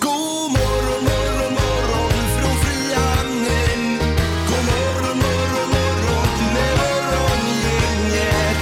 God morgon morgon morgon från Frihamnen. God morgon morgon morgon med morgongänget.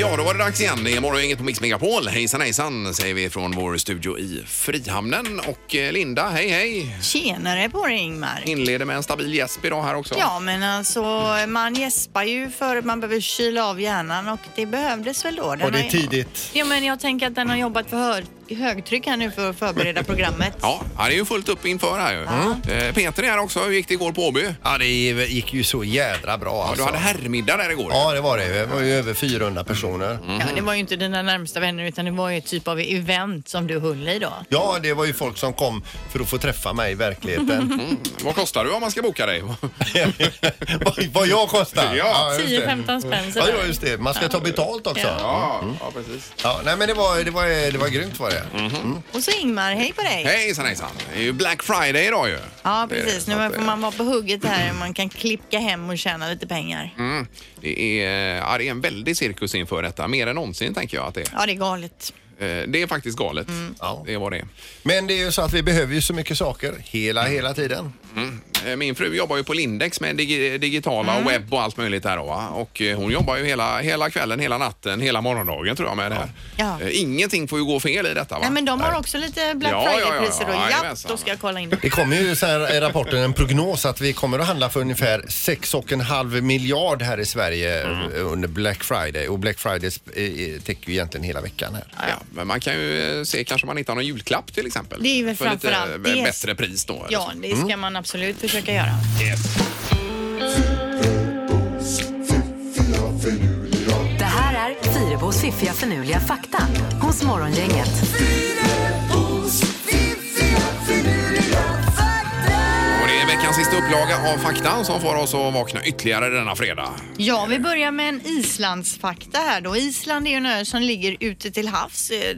Ja, då var det dags igen. Det är Morgongänget på Mix Megapol. Hejsan hejsan säger vi från vår studio i Frihamnen. Och eh, Linda, hej hej! Tjenare på dig Ingmar. Inleder med en stabil gäsp idag här också. Ja men alltså man gäspar ju för man behöver kyla av hjärnan och det behövdes väl då. Den Och det har- är tidigt. Ja men jag tänker att den har jobbat för hö- högtryck här nu för att förbereda programmet. Ja, ja, det är ju fullt upp inför här ju. Eh, Peter är här också. Hur gick det igår på Åby? Ja, det gick ju så jädra bra Ja, du alltså. hade herrmiddag där igår. Ja, det var det. Det var ju över 400 personer. Mm. Ja, det var ju inte dina närmsta vänner utan det var ju ett typ av event som du höll i då. Ja, det var ju folk som kom för att få träffa mig i verkligheten. Vad kostar du om man ska boka dig? Vad- Vad jag kostar. Ja, just det. 10-15 spänn Ja, sådär. ja, just det. Man ska ta betalt också. Ja, ja precis. Ja, nej, men det var, det var, det var grymt var det. Mm. Och så Ingmar, hej på dig. Hejsan hejsan! Det är ju Black Friday idag ju. Ja Eh, precis, så nu att, får eh, man vara på hugget här. Man kan klippa hem och tjäna lite pengar. Mm. Det är, eh, ja, det är en väldig cirkus inför detta. Mer än någonsin tänker jag att det är. Ja det är galet. Eh, Det är faktiskt galet. Mm. Ja. Det var det. Men det är ju så att vi behöver ju så mycket saker hela, hela tiden. Eh, Min fru jobbar ju på Lindex med dig- digitala Mm. och webb och allt möjligt där. då, Va? Och eh, hon jobbar ju hela, hela kvällen, hela natten, hela morgondagen tror jag med det här. Ja. Eh, Ingenting får ju gå fel i detta. Va? Nej men de har också lite Black Ja, ja, ja, Friday-priser ja, och japp, jajamensan. då ska jag kolla in det. Det kommer ju så här i rapporten en prognos att vi kommer att handla för ungefär 6,5 miljard här i Sverige under Black Friday. Och Black Friday sp- eh, eh, täcker ju egentligen hela veckan här. Ja, men man kan ju eh, se kanske om man hittar någon julklapp till exempel. Det är väl För lite framförallt eh, det. bättre pris då. eller Ja, så. det ska man absolut försöka göra. Det här är Fyrabos fiffiga förnuliga fakta hos Morgongänget. Fyrebos fiffiga finurliga fakta. Och det är veckans sista upplaga av Fakta som får oss att vakna ytterligare denna fredag. Ja, vi börjar med en Islandsfakta här då. Island är ju en ö som ligger ute till havs. eh,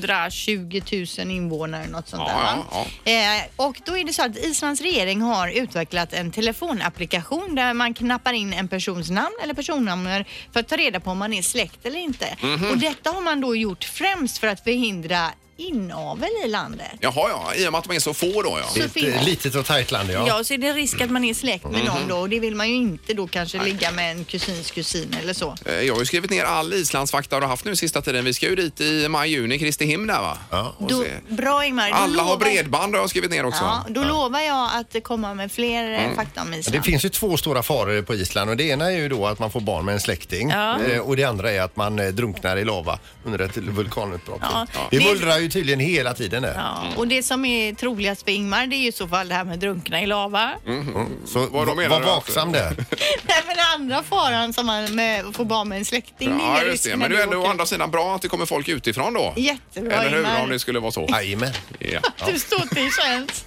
320 000 invånare, något sånt Ja, där. va? ja, Eh, och då är det så att Islands regering har utvecklat en telefonapplikation där man knappar in en persons namn eller personnummer för att ta reda på om man är släkt eller inte. Mhm. Och detta har man då gjort främst för att förhindra inavel i landet. Jaha, ja. I och med att de är så få då, ja. Så Ett finns- eh, litet och tajt land ja. Ja, så är det risk att man är släkt med Mhm. någon då och det vill man ju inte då kanske ligga med en kusins kusin eller så. Eh, Jag har ju skrivit ner all Islandsfakta du har haft nu sista tiden. Vi ska ju dit i maj, juni, Kristiheim där va? Ja. Och Då, se. bra Ingmar. då Alla har lovar- bredband har jag skrivit ner också. Ja, då lovar jag att komma med fler mm. fakta om Det Island. finns ju två stora faror på Island och det ena är ju då att man får barn med en släkting Ja. Eh, och det andra är att man eh, drunknar i lava under ett vulkanutbrott. Ja. Det Det- bullrar ju tydligen hela tiden där. Ja, och det som är troligast för Ingmar det är ju i så fall det här med drunkna i lava. Mm. Så Vad de var, menar var du alltså? vaksam där. Nej, men den andra faran som man med, får barn med en släkting det Ja, just är det. risken Men det är när ändå å åker- andra sidan bra att det kommer folk utifrån då. Jättebra Eller hur? Ingmar. Om det skulle vara så. Jajamän. Ja. Du står till tjänst.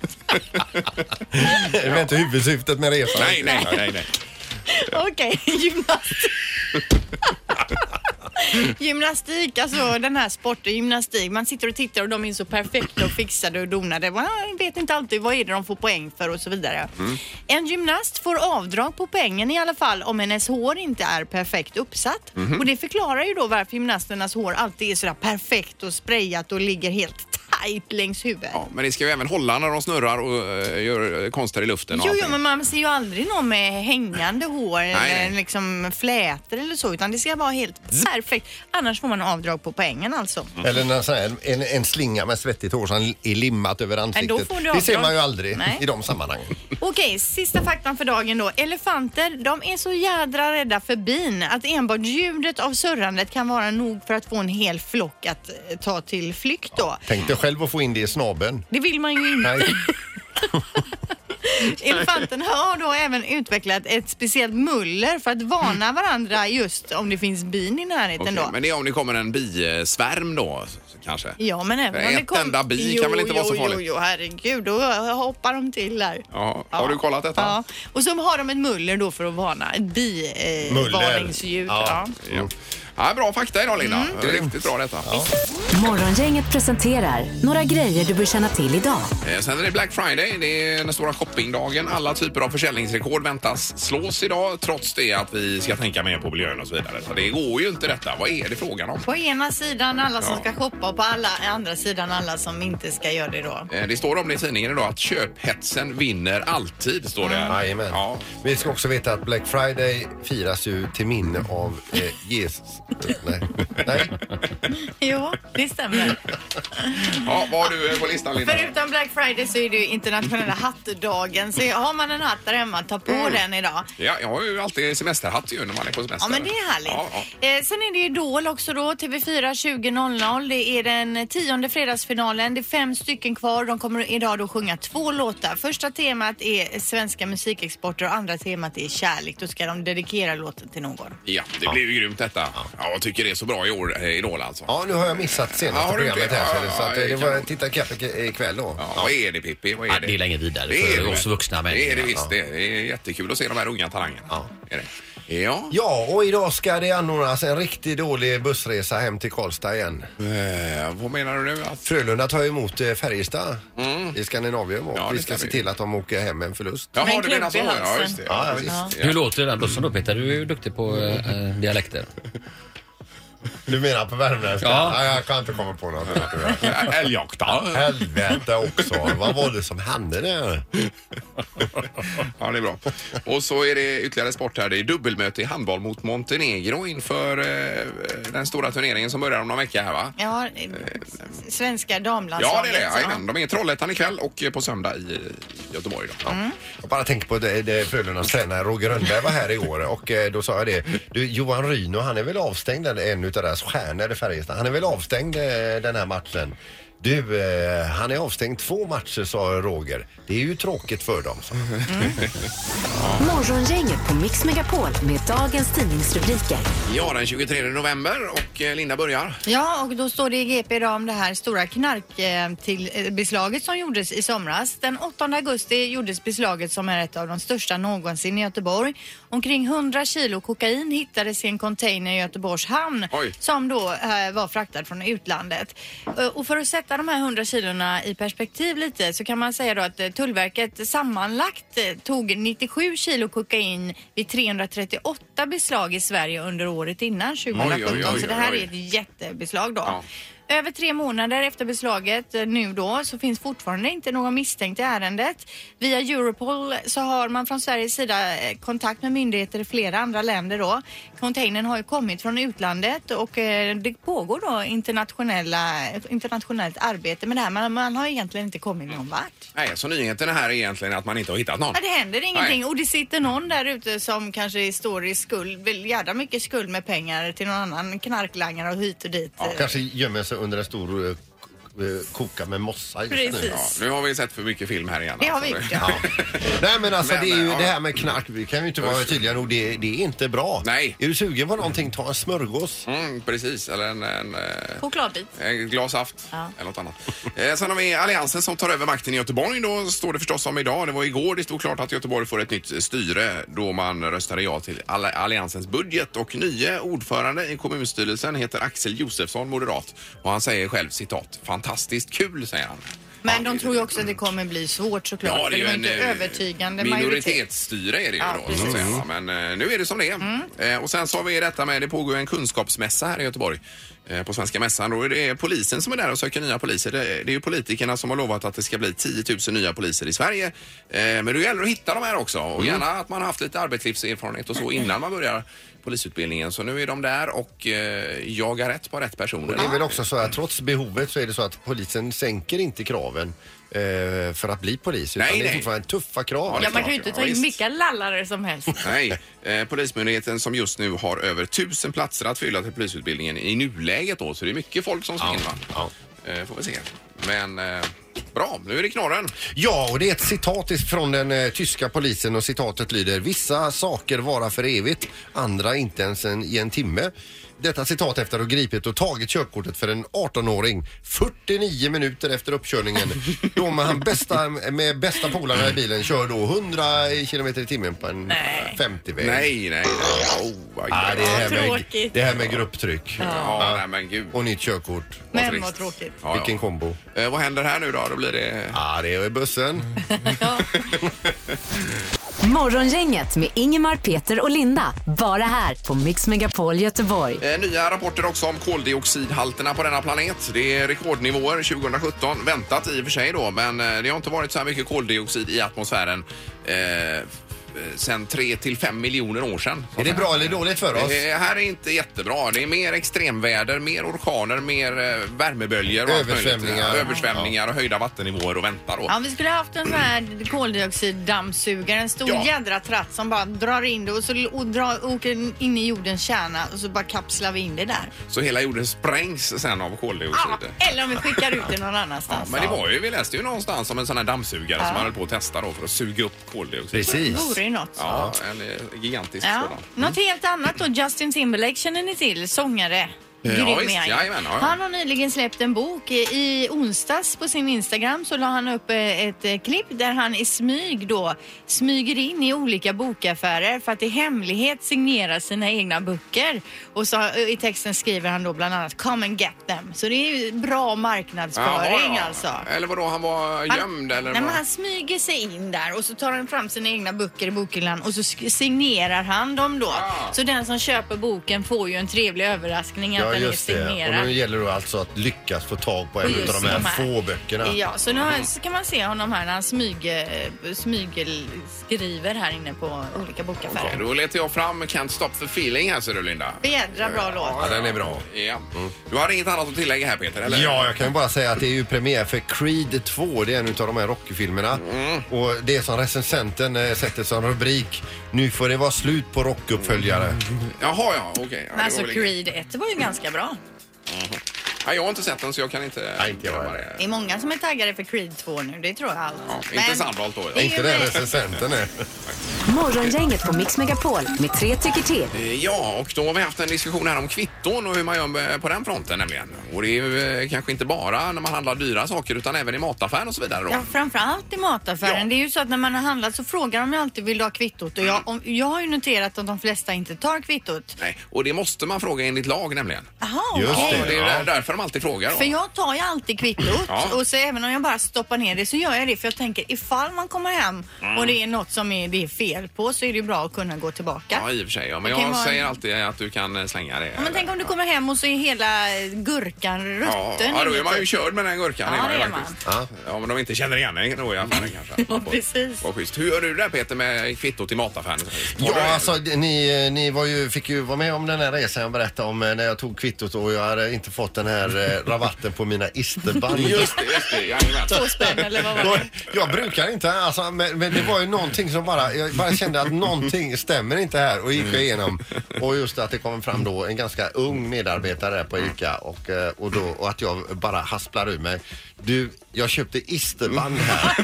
Det var inte huvudsyftet med resan. Nej, nej, nej, nej. Okej, gymnastik. gymnastik, alltså den här sporten, gymnastik. Man sitter och tittar och de är så perfekta och fixade och donade. Man vet inte alltid vad är det de får poäng för och så vidare. En gymnast får avdrag på poängen i alla fall om hennes hår inte är perfekt uppsatt. Och det förklarar ju då varför gymnasternas hår alltid är sådär perfekt och sprayat och ligger helt tajt längs huvudet. Ja, men det ska ju även hålla när de snurrar och eh, gör eh, konster i luften. och Jo, jo, allting. men man ser ju aldrig någon med hängande hår nej. eller liksom flätor eller så, utan det ska vara helt perfekt. Annars får man avdrag på poängen alltså. Eller en, sån här, en, en slinga med svettigt hår som är limmat över Men då ansiktet. får du det avdrag. ser man ju aldrig Nej. i de sammanhangen. Okej, sista faktan för dagen då. Elefanter, de är så jädra rädda för bin att enbart ljudet av surrandet kan vara nog för att få en hel flock att eh, ta till flykt då. Tänk dig själv att få in det i snabeln. Det vill man ju inte. Nej. Elefanten har då även utvecklat ett speciellt muller för att varna varandra just om det finns bin i närheten Okej, då. Men det är om det kommer en bisvärm då, så- kanske? Ja, men även För om det ett kom... enda bi kan väl inte vara så farligt? Jo, jo, herregud, då hoppar de till där. Ja, har du kollat detta? Ja, och så har de ett muller då för att varna, ett Muller. bivarningsljud. Eh, varningsljud, Ja. ja. Ja. Ja, bra fakta idag Linda. Mm. Riktigt bra detta. Morgongänget presenterar några grejer du bör känna till idag. Eh, Sen är det Black Friday, det är den stora shoppingdagen. Alla typer av försäljningsrekord väntas slås idag trots det att vi ska tänka mer på miljön och så vidare. Så det går ju inte detta. Vad är det frågan om? På ena sidan alla som Ja. ska shoppa och på alla, andra sidan alla som inte ska göra det då. Eh, Det står om det i tidningen idag att köphetsen vinner alltid, står det här. Ah, Jajamän. Ja. Vi ska också veta att Black Friday firas ju till minne av eh, Jesus. Nej. Nej. Jo, det stämmer. ja, vad har du eh, på listan Linda? Förutom Black Friday så är det ju internationella hattdagen. Så har man en hatt där hemma, ta på Mm. den idag. Ja, jag har ju alltid semesterhatt ju när man är på semester. Ja men det är härligt. Ja, ja. Eh, sen är det Idol också då, TV4 20.00. Det är den tionde fredagsfinalen. Det är fem stycken kvar. De kommer idag då sjunga två låtar. Första temat är svenska musikexporter och andra temat är kärlek. Då ska de dedikera låten till någon. Ja, det blir ju grymt detta. Ja, jag tycker det är så bra i år, eh, Idol alltså. Ja, nu har jag missat Ja, senaste har du inte? programmet här. ser du, så att, Ja, eh, det det var kan- titta kapp i- eh, ikväll då. Ja, vad är det Pippi? Vad är Ja, det? det är länge vidare Det är för det. oss vuxna Det är det människor. visst det. Det är jättekul att se de här unga talangerna. Ja. Är det? Ja. Ja, och idag ska det anordnas en riktigt dålig bussresa hem till Karlstad igen. Eh, vad menar du nu? Att... Frölunda tar ju emot eh, Färjestad i Skandinavien och Mm. Ja, det vi ska ska se vi. till att de åker hem med en förlust. Jaha, Men du menar så. klump i halsen. Ja, just det. Ja, precis. ja, Hur låter den bussen då Peter? Du är ju duktig på eh, eh, dialekter. Du menar på värmländska? Ja. Nej, jag kan inte komma på något. annat, tyvärr. Ja, Älgjakt. ja. Helvete också. Vad var det som hände där? Ja, det är bra. Och så är det ytterligare sport här. Det är dubbelmöte i handboll mot Montenegro inför eh, den stora turneringen som börjar om någon vecka här va? Ja, eh, s- svenska damlandslaget. Ja, det är det. så. Jajamän. De är i Trollhättan ikväll och eh, på söndag i i Göteborg. Då. Ja. Mm. Jag bara tänker på det, det Frölundas tränare Roger Rönnberg var här igår och eh, då sa jag det. Du, Johan Ryno, han är väl avstängd, eller en utav deras stjärnor i Färjestad. Han är väl avstängd eh, den här matchen. Du, eh, han är avstängd två matcher sa Roger. Det är ju tråkigt för dem. sa han. Morgongänget på Mix Megapol med dagens tidningsrubriker. ja, den 23 november och eh, Linda börjar. Ja, och då står det i GP idag om det här stora eh, knarkbeslaget som gjordes i somras. Den 8 augusti gjordes beslaget som är ett av de största någonsin i Göteborg. Omkring 100 kilo kokain hittades i en container i Göteborgs hamn Oj. som då eh, var fraktad från utlandet. Eh, Och för att sätta de här 100 kilorna i perspektiv lite så kan man säga då att eh, Tullverket sammanlagt eh, tog 97 kilo kokain vid 338 beslag i Sverige under året innan 2017. Oj, oj, oj, så det här oj. är ett ett jättebeslag då. Ja. Över tre månader efter beslaget eh, nu då så finns fortfarande inte någon misstänkt i ärendet. Via Europol så har man från Sveriges sida eh, kontakt med myndigheter i flera andra länder då. Containern har ju kommit från utlandet och eh, det pågår då internationella, ett internationellt arbete med det här men man har egentligen inte kommit någon vart. Nej, så nyheten här är egentligen att man inte har hittat någon. Ja, det händer ingenting Nej. och det sitter någon där ute som kanske står i skuld, vill jädra mycket skuld med pengar till någon annan knarklangare och hit och dit. eh. Kanske gömmer sig under en stor eh, k- eh, koka med mossa just nu. Precis. Ja, nu har vi sett för mycket film här igen. Det har vi alltså. gjort, Ja. Nej men alltså Men, det är ju ja. det här med knark, vi kan ju inte vara tydliga nog, det, det är inte bra. Nej. Är du sugen på någonting, ta en smörgås. Mm, precis, eller en, en, eh, Chokladbit. en glas saft Ja. eller något annat. Eh, sen har vi Alliansen som tar över makten i Göteborg. Då står det förstås om idag. Det var igår det stod klart att Göteborg får ett nytt styre då man röstade ja till alla- Alliansens budget. Och nye ordförande i kommunstyrelsen heter Axel Josefsson, moderat. Och han säger själv citat, fantastiskt kul säger han. Men de det- tror ju också att det kommer bli svårt såklart. Ja, det är ju för en inte eh, övertygande majoritet. minoritetsstyre är det ju Ja, då. Så att precis. Mm. säga. Ja, Men eh, nu är det som det är. Eh, och sen så har vi detta med, det pågår ju en kunskapsmässa här i Göteborg. eh, På Svenska Mässan då. Det är polisen som är där och söker nya poliser. Det det är ju politikerna som har lovat att det ska bli 10 000 nya poliser i Sverige. Eh, Men det gäller att hitta de här också. Mm. Och gärna att man har haft lite arbetslivserfarenhet och så innan man börjar polisutbildningen. Så nu är de där och eh, jagar rätt på rätt personer. Det är väl också så att trots behovet så är det så att polisen sänker inte kraven eh, för att bli polis. Utan Nej, det är nej. fortfarande tuffa krav. Ja, Ja, man kan ju klart, inte ta ja, in visst. vilka lallare som helst. Nej, eh, Polismyndigheten som just nu har över tusen platser att fylla till polisutbildningen i nuläget då, så det är mycket folk som ska in va? ja. Eh, får vi se. Men eh, bra, nu är det knorren. Ja, och det är ett citat is- från den eh, tyska polisen och citatet lyder Vissa saker vara för evigt, andra inte ens en, i en timme. Detta citat efter att ha gripit och tagit körkortet för en 18-åring 49 minuter efter uppkörningen. Då med, han bästa, med bästa polarna i bilen kör då 100 kilometer i timmen på en Nej. 50-väg. Nej, nej, nej. Oh, vad Ah, det, gött. här med, Tråkigt. det här med grupptryck Ja, nej, men gud. och nytt körkort. Men vad trist. tråkigt. Ja, Vilken ja. kombo. Eh, vad händer här nu då? Då blir det... Ja, ah, det är bussen. Mm. Morgongänget med Ingemar, Peter och Linda. Bara här på Mix Megapol Göteborg. Eh, Nya rapporter också om koldioxidhalterna på denna planet. Det är rekordnivåer 2017. Väntat i och för sig då, men eh, det har inte varit så här mycket koldioxid i atmosfären eh, f- eh, sen 3 till 5 miljoner år sedan. Är det bra eller dåligt för oss? Det här är inte jättebra. Det är mer extremväder, mer orkaner, mer eh, värmeböljor och allt möjligt. Översvämningar. översvämningar och höjda vattennivåer och vänta då. Ja, vi skulle haft en sån här koldioxiddammsugare, en stor Ja. jädra tratt som bara drar in det och så och dra, åker den in i jordens kärna och så bara kapslar vi in det där. Så hela jorden sprängs sen av koldioxid. Ah, eller om vi skickar ut det någon annanstans. Men det var ju, vi läste ju någonstans om en sån här dammsugare som man höll på att testa då för att suga upp koldioxid. Precis. vore ju något. Ja, en eh, gigantisk Ja. sådan. Mm. Något helt annat då. Justin Timberlake känner ni till, sångare. Ja, Grym är visst. han ju. Jajamän, ja, ja. Han har nyligen släppt en bok. I onsdags på sin Instagram så la han upp eh, ett eh, klipp där han i smyg då smyger in i olika bokaffärer för att i hemlighet signera sina egna böcker. Och så eh, i texten skriver han då bland annat “Come and get them”. Så det är ju bra marknadsföring alltså. Eller vadå, han var Han- gömd eller? Nej, vad? men han smyger sig in där och så tar han fram sina egna böcker i bokhyllan och så sk- signerar han dem då. Ja. Så den som köper boken får ju en trevlig överraskning att Ja, den är just det. Och signerad. nu gäller det alltså att lyckas få tag på en Och av just de här de här. få böckerna. Ja, så nu har, så kan man se honom här när han smyger, smygel, skriver här inne på olika bokaffärer. Okej, Då letar jag fram Can't Stop the Feeling här ser du Linda. Jädra bra låt. Ja, den är bra. Ja. Mm. Du har inget annat att tillägga här Peter? Eller? Ja, jag kan ju bara säga att det är ju premiär för Creed 2. Det är en av de här Rocky-filmerna. Och det som recensenten eh, sätter som rubrik. Nu får det vara slut på rockuppföljare. Jaha, ja. Okej. Ja, det Men alltså var väl inget. Creed 1 var ju ganska bra. ja, jag har inte sett den så jag kan inte... Nej, inte jag bedöma heller. Det är många som är taggade för Creed 2 nu, det tror jag allt. Ja, inte Men- Sandholt då. Det är Inte ju den mig. recensenten eh? är. Morgongänget på Mix Megapol med tre tycker till. Eh, Ja, och då har vi haft en diskussion här om kvitton och hur man gör med- på den fronten nämligen. Och det är ju eh, kanske inte bara när man handlar dyra saker utan även i mataffären och så vidare då. Ja, framförallt i mataffären. Ja. Det är ju så att när man har handlat så frågar de ju alltid vill du ha kvittot? Och jag, om, jag har ju noterat att de flesta inte tar kvittot. Nej, och det måste man fråga enligt lag nämligen. Jaha, Just Ja, okej. det, det är ja. där- därför de alltid frågar då. För jag tar ju alltid kvittot Ja. och så även om jag bara stoppar ner det så gör jag det för jag tänker ifall man kommer hem Mm. och det är något som är, det är fel på så är det ju bra att kunna gå tillbaka. Ja, i och för sig. Ja. Men Det kan jag vara- säger alltid att du kan eh, slänga det. Ja, men tänk om du kommer hem och så är hela eh, gurkan Ja, rutten. ja, då är man ju inuti. körd med den här gurkan. Ja, det är faktiskt. Ja, om de inte känner igen en då i affären kanske. Ja, precis. Vad schysst. Hur gör du där Peter med kvittot i mataffären? Tar du Ja, det? alltså ni, ni var ju, fick ju vara med om den här resan jag berättade om eh, när jag tog kvittot och jag hade inte fått den här eh, rabatten på mina isterband. Just det, just det. Jajamän. Två spänn eller vad var det? Jag, jag brukar inte, alltså, men, men det var ju någonting som bara, jag bara kände att någonting stämmer inte här och Mm. gick jag igenom. Och just att det kom fram då en ganska ung medarbetare på Mm. ICA och, eh, och, då, och att jag bara hasplar ur mig. Du, jag köpte isterband här.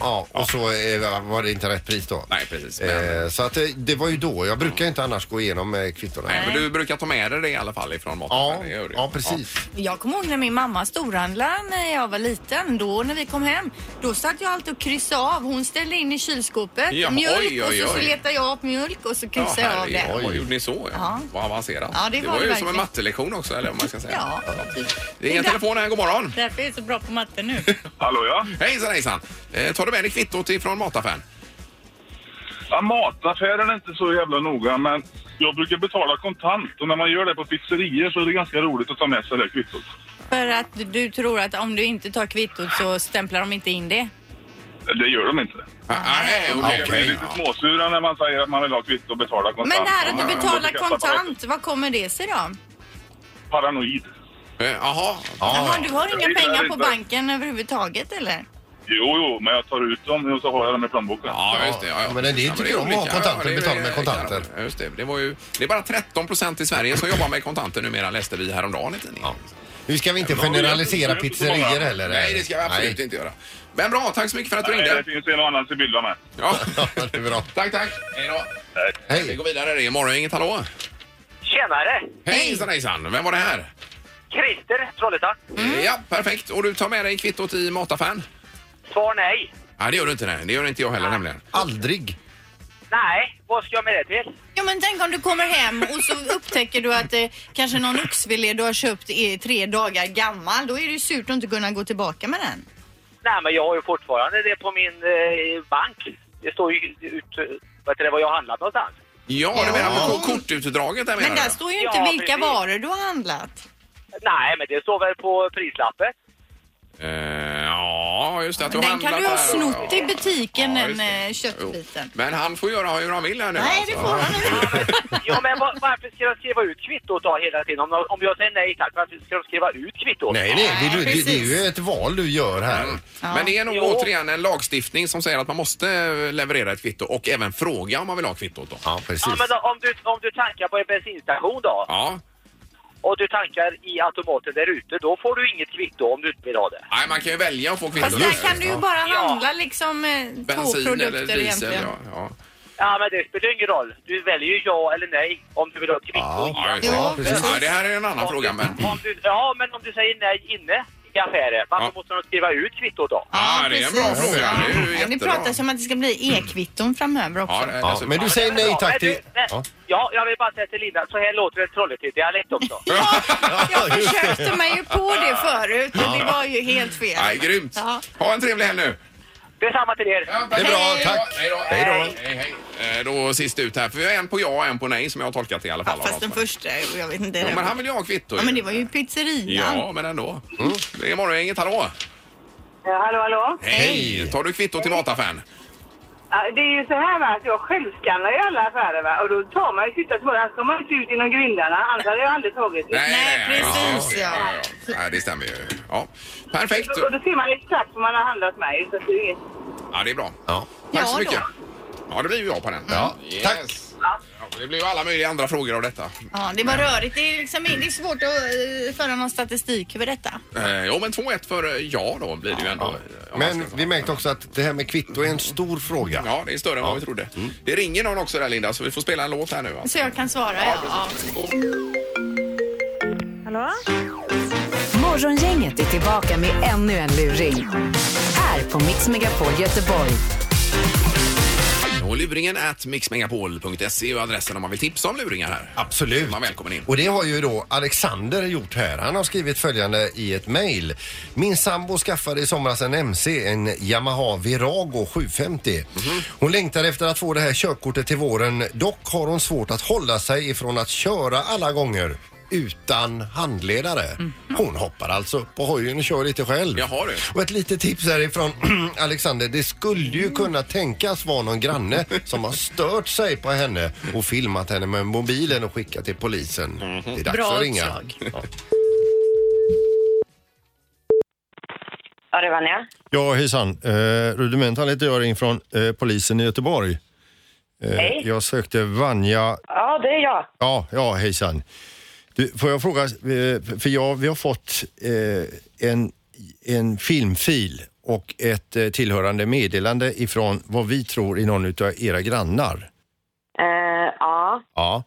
ja, och så eh, var det inte rätt pris då. Nej, precis. Men- Eh, Så att eh, det var ju då, jag brukar inte annars gå igenom eh, kvittona. Nej, men du brukar ta med dig det i alla fall ifrån Ja, mataffären. det gör du. ja, precis. Jag kommer ihåg när min mamma storhandlade när jag var liten. Då när vi kom hem, då satt jag alltid och kryssade av. Hon ställde in i kylskåpet Ja, mjölk oj, oj, och så, så oj. letade jag upp mjölk och så Ja, kryssade jag av herregud. det. Oj, gjorde ni så? Ja. Ja. Vad avancerat. Ja, det ju var det som en verkligen. mattelektion också, eller om man ska säga. Ja, typ. Det är en telefon här, god morgon. Därför är jag så bra på matte nu. Hallå ja. Hejsan, hejsan. Eh, tar du med dig kvittot ifrån mataffären? ja mataffären är inte så jävla noga men jag brukar betala kontant och när man gör det på pizzerier så är det ganska roligt att ta med sig det kvittot. För att du tror att om du inte tar kvittot så stämplar de inte in det. Det gör de inte. Ah, Nej, okej. De blir lite småsura när man säger att man vill ha kvitto och betala kontant. Men det här att Ja, du men då betalar blir jag kontant, vad kommer det sig då? Paranoid. Eh, Jaha. Jaha, du har Jag inga gillar pengar på inte. banken överhuvudtaget eller? Jo, jo, men jag tar ut dem och så har jag dem i plånboken. Ja, just det. Ja, ja. Men det är inte kul om man har olika. kontanter, Ja, det är- betala med kontanter. Ja, Just det. Det, var ju, det är bara 13 procent i Sverige som jobbar med kontanter numera, läste vi häromdagen i tidningen. Nu ska vi inte men- generalisera pizzerier heller. Nej, det ska vi absolut Nej. inte göra. Men bra, tack så mycket för att du Nej, ringde. det finns en och annan Sibylla med. Ja. Ja, det är bra. Tack, tack. Hej då. Vi Hej. går vidare. Det är morgon, inget hallå. Tjenare! Hejsan hejsan. Vem var det här? Christer, Trollhättan. Mm. Ja, perfekt. Och du tar med dig kvittot i mataffären? Svar nej. Nej, det gör du inte. Nej. Det gör inte jag Ah. heller nämligen. Aldrig. Nej, vad ska jag med det till? Ja, men tänk om du kommer hem och så upptäcker du att eh, kanske någon oxfilé du har köpt är tre dagar gammal. Då är det ju surt att inte kunna gå tillbaka med den. Nej, men jag har ju fortfarande det på min eh, bank. Det står ju ut, vet du det, vad jag har handlat någonstans. Ja, du menar på kortutdraget där menar Men du? där står ju inte Ja, vilka precis. varor du har handlat. Nej, men det står väl på prislappen. Eh, ja, just det. Att Men du den kan handlat du ha där. snott i butiken, Ja, den just det. eh, köttbiten. Jo. Men han får göra hur han vill här nu. alltså. Nej, det får han inte. Ja, men va- varför ska de skriva ut kvittot då hela tiden? Om, om jag säger nej tack, varför ska de skriva ut kvittot? Nej, nej, det, är- det, det är precis. ju ett val du gör här. Mm. Men det är nog Jo. återigen en lagstiftning som säger att man måste eh, leverera ett kvitto och även fråga om man vill ha kvittot. Då. Ja, Ja, precis. men då, om, du, om du tankar på en bensinstation då Ja. och du tankar i automaten där ute, då får du inget kvitto om du inte vill ha det. Nej, man kan ju välja att få kvitto. Fast där kan du ju bara Ja. handla liksom eh, två Bensin eller produkter diesel. egentligen. Ja, ja. Ja, men det spelar ju ingen roll. Du väljer ju ja eller nej om du vill ha ett kvitto. i Ja, just det. Ja, precis. Ja, det här är en annan Om fråga. du- Men... Om du, ja, men om du säger nej inne i affären, varför Ja. måste de skriva ut kvittot då? Ja, det är en bra precis. fråga. Det är ju Ja, Det jättebra. pratas om att det ska bli e-kvitton framöver Alltså, Ja, också. det är Ja, dessutom- men du säger nej Ja, tack men till... du- men- Ja. Ja, jag vill bara säga till Linda, så här låter en Trollhättedialekt också. Jag Ja, just det. försökte mig ju på det förut och det var ju helt fel. Nej, grymt. Ja. Ha en trevlig helg nu. Detsamma till er! Ja, Det är bra, tack. Hej då. Hej då. Hej, hej. Eh, Då sist ut här. För vi har en på ja och en på nej som jag har tolkat i alla fall. Ja, fast den första, jag vet inte. Jo, men han vill ju ha kvitto. Ja, men det var ju pizzerian. Ja, men ändå. Mm. Det är morgongänget, hallå! Ja, hallå, hallå? Hej! Tar du kvitto till mataffären? Ja, Det är ju så här va, att jag självskannar ju alla affärer va. Och då tar man ju kvittot på det. Annars kommer man inte ut genom grindarna. Annars hade jag aldrig tagit det. Nej, precis, ja. Nej, det stämmer ju. Ja. Perfekt. Och då ser man exakt vad man har handlat med. Så att det är inget... Ja, det är bra. Ja. Tack så Ja, mycket. då. Ja, det blir ju jag på den. Ja, tack. Ja, Det blir ju alla möjliga andra frågor av detta. Ja, det var rörigt. Det är, liksom, det är svårt att eh, föra någon statistik över detta. Eh, Jo, men 2-1 för eh, ja då blir det ju ändå. om man Men ska- vi märkte också att det här med kvitto är en stor fråga. Ja, det är större än vad vi trodde. Mm. Det ringer någon också där, Linda, så vi får spela en låt här nu. Alltså. Så jag kan svara, ja. ja. Morgongänget är tillbaka med ännu en luring. Här på Mix Megapol Göteborg. Och luringen at mixmegapol.se är ju adressen om man vill tipsa om luringar här. Absolut. Man är välkommen in. Och det har ju då Alexander gjort här. Han har skrivit följande i ett mejl. Min sambo skaffade i somras en MC, en Yamaha Virago 750. Mhm. Hon längtar efter att få det här körkortet till våren. Dock har hon svårt att hålla sig ifrån att köra alla gånger utan handledare. Mhm. Hon hoppar alltså upp på hojen och kör lite själv. Jaha, du. Och ett litet tips härifrån Alexander. Det skulle ju kunna tänkas vara någon granne som har stört sig på henne och filmat henne med mobilen och skickat till polisen. Det är dags Mhm. Bra att ringa. uppslag. Ja. Ja, det var ni. Ja, hejsan. Eh, Rudimental heter jag, ringer från eh, polisen i Göteborg. Eh, Hej. Jag sökte Vanja. Ja, det är jag. Ja, ja hejsan. Du, får jag fråga, eh, för jag, vi har fått eh, en, en filmfil och ett eh, tillhörande meddelande ifrån vad vi tror är någon utav era grannar. Eh, ja. Ja.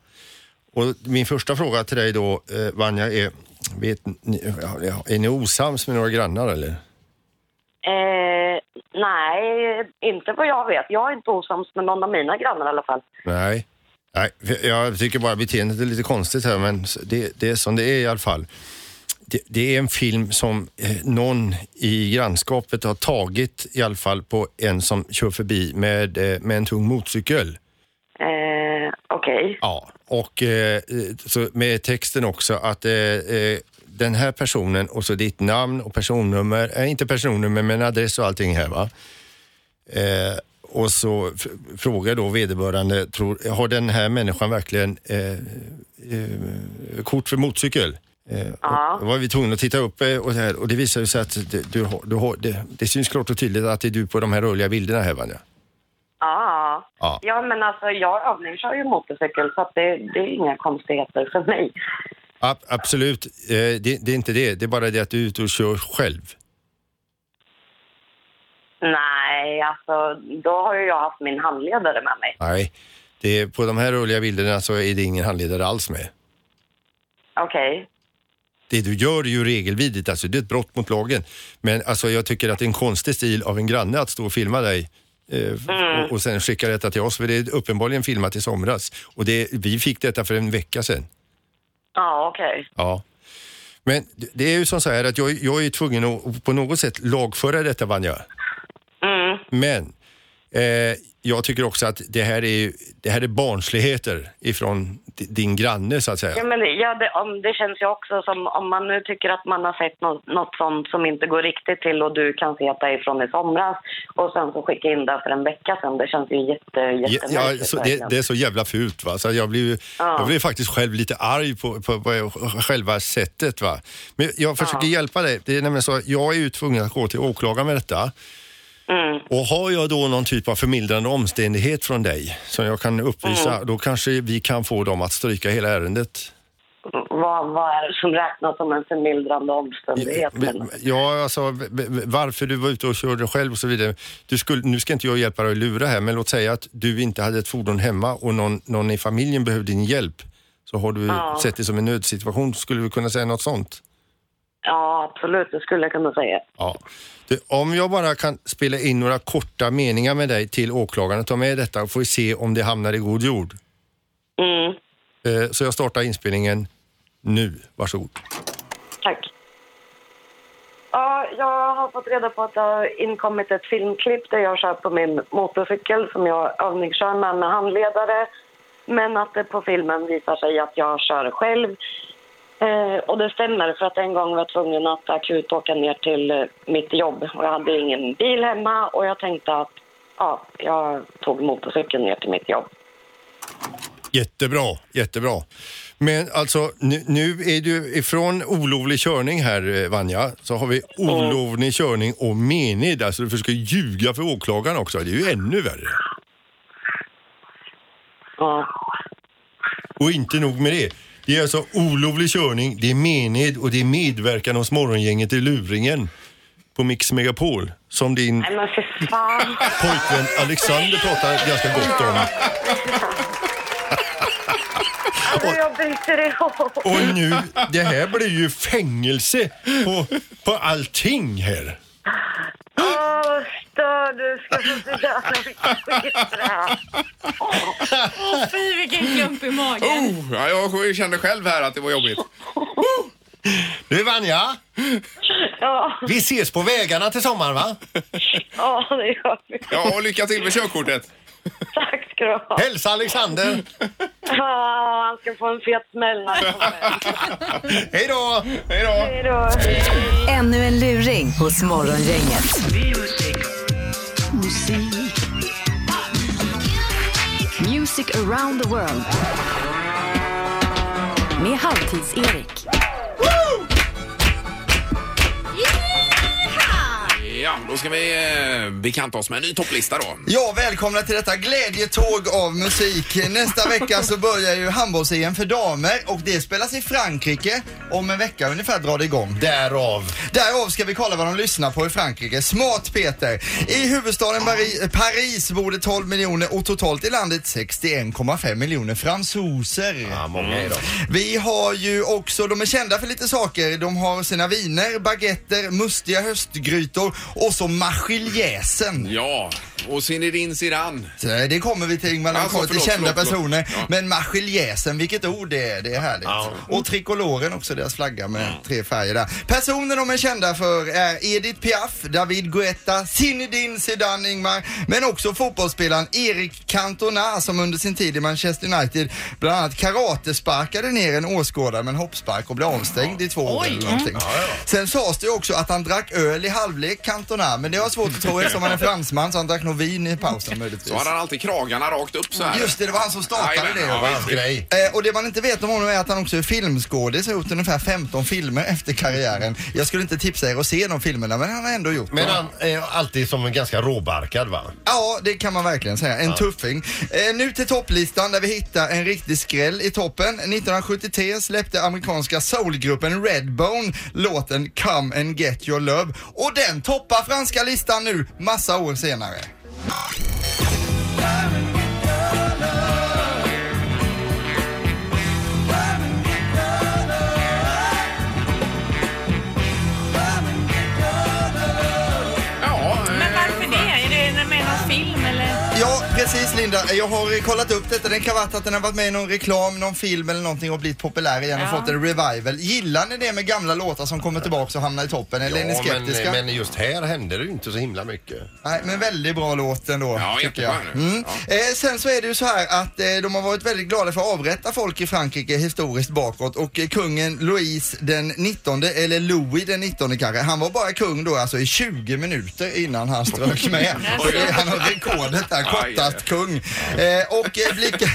Och min första fråga till dig då, eh, Vanja, är, vet, ni, är ni osams med några grannar eller? Eh, nej, inte vad jag vet. Jag är inte osams med någon av mina grannar i alla fall. Nej. Nej, för jag tycker bara beteendet är lite konstigt här, men det, det är som det är i alla fall. Det, det är en film som eh, någon i grannskapet har tagit i alla fall på en som kör förbi med, eh, med en tung motorcykel. Eh, Okej. Ja. Och eh, så med texten också att eh, eh, den här personen och så ditt namn och personnummer, eh, inte personnummer men adress och allting här va. Eh, och så f- frågar då vederbörande, tror, har den här människan verkligen eh, eh, kort för motorcykel? Eh, Ja. och då var vi tvungna att titta upp eh, och, det här, och det visar ju sig att det, du, har- du, har- det, det syns klart och tydligt att det är du på de här rörliga bilderna här Vanja. Ja. Ja. ja, men alltså jag övningskör ju motorcykel så att det, det är inga konstigheter för mig. Ab- absolut, eh, det, det är inte det, det är bara det att du är ute och kör själv. Nej, alltså då har ju jag haft min handledare med mig. Nej. Det, på de här rörliga bilderna så är det ingen handledare alls med. Okej. Det du gör är ju regelvidrigt, alltså det är ett brott mot lagen. Men alltså jag tycker att det är en konstig stil av en granne att stå och filma dig eh, och, och sen skicka detta till oss, för det är uppenbarligen filmat i somras. Och det, vi fick detta för en vecka sedan. Ja, okej. Ja. Men det- det är ju som så här att jag, jag är tvungen att på något sätt lagföra detta Vanja. Men eh, jag tycker också att det här är, ju- det här är barnsligheter ifrån di- din granne så att säga. Ja, men det, ja, det, om, det känns ju också som om man nu tycker att man har sett något, något sånt som inte går riktigt till och du kan se att det är från i somras och sen så skicka in det för en vecka sedan. Det känns ju jätte, Ja, jättemärkligt. ja, så det, verkligen. det är så jävla fult va. Så jag, blev, ju- Ja. jag blev faktiskt själv lite arg på, på, på själva sättet va. Men jag försöker hjälpa dig. Det är nämligen så att jag är ju tvungen att gå till åklagaren med detta. Mm. Och har jag då någon typ av förmildrande omständighet från dig som jag kan uppvisa, Mm. då kanske vi kan få dem att stryka hela ärendet. vad, vad är det som räknas som en förmildrande omständighet? men- Ja, alltså v- v- varför du var ute och körde själv och så vidare. Du skulle, nu ska inte jag hjälpa dig att lura här, men låt säga att du inte hade ett fordon hemma och någon, någon i familjen behövde din hjälp. Så har du Ja. sett det som en nödsituation, skulle du kunna säga något sånt? Ja, absolut, det skulle jag kunna säga. Ja. Du, om jag bara kan spela in några korta meningar med dig till åklagaren, ta med detta och får vi se om det hamnar i god jord. Mm. Eh, Så jag startar inspelningen nu. Varsågod. Tack. Ja, jag har fått reda på att det har inkommit ett filmklipp där jag kör på min motorcykel som jag övningskör med med handledare. Men att det på filmen visar sig att jag kör själv. Eh, och det stämmer för att en gång var jag tvungen att akut åka ner till eh, mitt jobb och jag hade ingen bil hemma och jag tänkte att ja, jag tog motorcykeln ner till mitt jobb. Jättebra, jättebra. Men alltså nu, nu är du ifrån olovlig körning här eh, Vanja, så har vi olovlig körning och mened, alltså du försöker ljuga för åklagaren också, det är ju ännu värre. Ja. Och inte nog med det, det är alltså olovlig körning, det är mened och det är medverkan hos morgongänget i luringen på Mix Megapol som din Nej men för fan! pojkvän Alexander pratar ganska gott om. Alltså jag bryter ihop! Och nu, det här blir ju fängelse på, på allting här. Åh, vad stör du ska få så jävla mycket skit för det här. Åh fy vilken klump i magen. Oh, ja, jag kände själv här att det var jobbigt. Du Vanja, Ja, vi ses på vägarna till sommaren va? ja, det gör vi. Ja, och lycka till med körkortet. Tack ska du ha. Hälsa Alexander! Ja, han ska få en fet smäll när han kommer. Hej då! Hej då! Hej då. Ännu en luring hos Morgongänget. Music around the world. Med Halvtids-Erik. Ja, då ska vi eh, bekanta oss med en ny topplista då. Ja, välkomna till detta glädjetåg av musik. Nästa vecka så börjar ju handbolls-EM för damer och det spelas i Frankrike. Om en vecka ungefär drar det igång. Därav. Därav ska vi kolla vad de lyssnar på i Frankrike. Smart Peter! I huvudstaden Pari- Paris bor det 12 miljoner och totalt i landet 61,5 miljoner fransoser. Ja, många är de. Mm. Vi har ju också, de är kända för lite saker. De har sina viner, baguetter, mustiga höstgrytor och så marsiljäsen. Eh, Ja, och Zinedine Zidane. Det kommer vi till Ingmar Alltså, Lundkort, till förlåt, kända förlåt, förlåt. personer. Ja. Men marsiljäsen, vilket ord det är, det är härligt. Och trikoloren också, deras flagga med tre färger där. Personer de är kända för är Edith Piaf, David Guetta, Zinedine Zidane, Ingmar. Men också fotbollsspelaren Erik Cantona som under sin tid i Manchester United bland annat karatesparkade ner en åskådare med en hoppspark och blev avstängd i två år Oj. eller någonting. Sen sades det ju också att han drack öl i halvlek, Cantona. Men det har jag svårt att tro eftersom han är fransman så han drack nog vin i pausen möjligtvis. Så har han alltid kragarna rakt upp så här. Just det, det var han som startade Jajamän, det. ja, va? visst. Grej. Eh, Och det man inte vet om honom är att han också är filmskådis och har gjort ungefär 15 filmer efter karriären. Jag skulle inte tipsa er att se de filmerna men han har ändå gjort Men dem. han är alltid som en ganska råbarkad va? Ja, det kan man verkligen säga. En tuffing. Eh, nu till topplistan där vi hittar en riktig skräll i toppen. 1973 släppte amerikanska soulgruppen Redbone låten Come and Get Your Love och den toppar franska listan nu, massa år senare. Precis Linda, jag har kollat upp detta. Den kan vara att den har varit med i någon reklam, någon film eller någonting och blivit populär igen och Ja. fått en revival. Gillar ni det med gamla låtar som kommer tillbaka och hamnar i toppen eller är ni skeptiska? men, men just här hände det ju inte så himla mycket. Nej, men väldigt bra låt ändå, Ja, tycker jag. jättebra är det. Mm. Eh, sen så är det ju så här att eh, de har varit väldigt glada för att avrätta folk i Frankrike historiskt bakåt och eh, kungen Louis den 19, eller Louis den 19 kanske, han var bara kung då alltså i 20 minuter innan han strök med. Så det, han har rekordet där, kortast kung. Eh, och eh, blickar...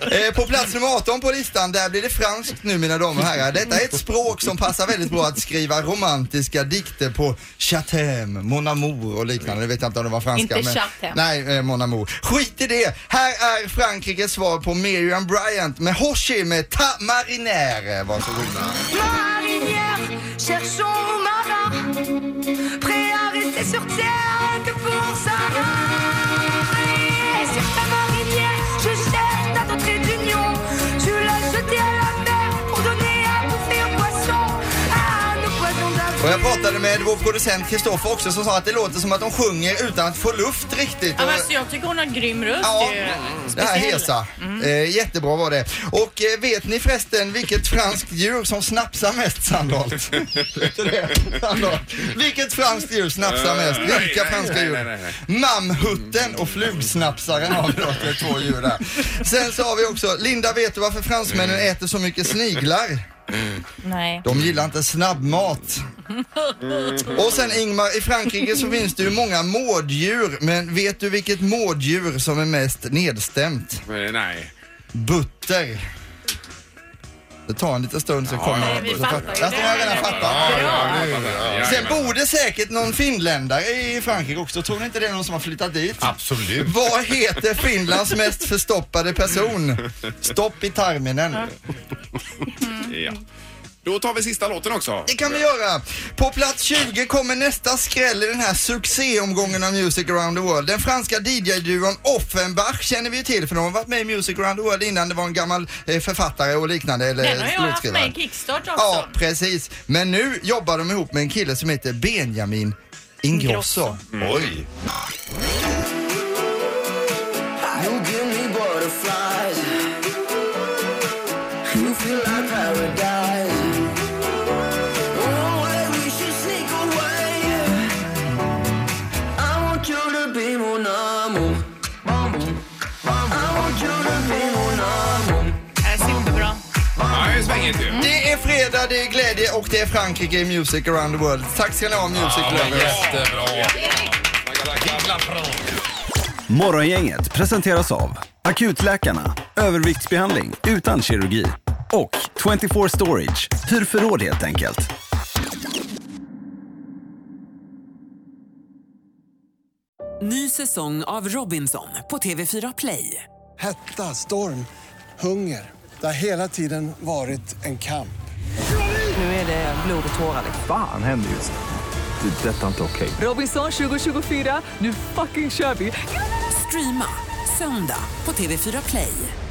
Eh, på plats nummer 18 på listan, där blir det franskt nu mina damer och herrar. Detta är ett språk som passar väldigt bra att skriva romantiska dikter på. Chatem, Mon amour och liknande. Nu vet jag inte om det var franska. Inte Chatham. Nej, eh, Mon amour. Skit i det. Här är Frankrikes svar på Miriam Bryant med Hoshi med Ta Marinaire. Varsågoda. Ma rivière, cherchons au marin, prêt à rester sur terre que pour s'arrêter. Sur ta marinière, je cherche ta entrée d'union. Tu l'as jetée à la mer pour donner à bouffer aux poissons, à nos poissons d'avril. Och jag pratade med vår producent Kristoffer också som sa att det låter som att de sjunger utan att få luft riktigt. Ja, Och- men alltså, jag tycker hon har grym röst. Ja, ju. det här Speciell. hesa. Mm. Eh, jättebra var det. Och eh, vet ni förresten vilket franskt djur som snapsar mest Sandholt? Vet du det, Sandholt? vilket franskt djur snapsar mest? Eh, nej, Vilka nej, franska nej, djur? nej, nej, nej. Mammhutten och flugsnapsaren har vi då, det är två djur där. Sen så har vi också, Linda vet du varför fransmännen Mm. äter så mycket sniglar? Nej. De gillar inte snabbmat. Mm. Och sen Ingmar, i Frankrike så finns det ju många mårddjur, men vet du vilket mårddjur som är mest nedstämt? Eh, Nej. Butter. Det tar en liten stund så kommer ja, vi så fattar ju Fast de har jag redan fattat. Sen borde säkert någon finländare i Frankrike också. Tror ni inte det är någon som har flyttat dit? Absolut. Vad heter Finlands mest förstoppade person? Stopp i tarminen. Ja. Då tar vi sista låten också. Det kan vi göra. På plats 20 kommer nästa skräll i den här succéomgången av Music around the world. Den franska DJ-duon Offenbach känner vi ju till för de har varit med i Music around the world innan. Det var en gammal eh, författare och liknande. Eller Den har jag haft låtskrivare. med i Kickstart också. Ja, precis. Men nu jobbar de ihop med en kille som heter Benjamin Ingrosso. You Oj! give me butterflies. You feel like paradise. Oh, why we should sneak away. I want you to be mon amour. Bon, bon, bon. I want you to be mon amour. Superbra. Ja, det är svängigt ju. Det är fredag, det är glädje och det är Frankrike i Music around the world. Tack ska ni ha Music Mm. Lovers. Morgongänget presenteras av Akutläkarna, överviktsbehandling utan kirurgi och 24 Storage, hyr förråd helt enkelt. Ny säsong av Robinson på TV4 Play. Hetta, storm, hunger. Det har hela tiden varit en kamp. Nu är det blod och tårar. liksom. Fan händer just det. Det är detta inte okej. Robinson 2024, nu fucking kör vi! Streama söndag på TV4 Play.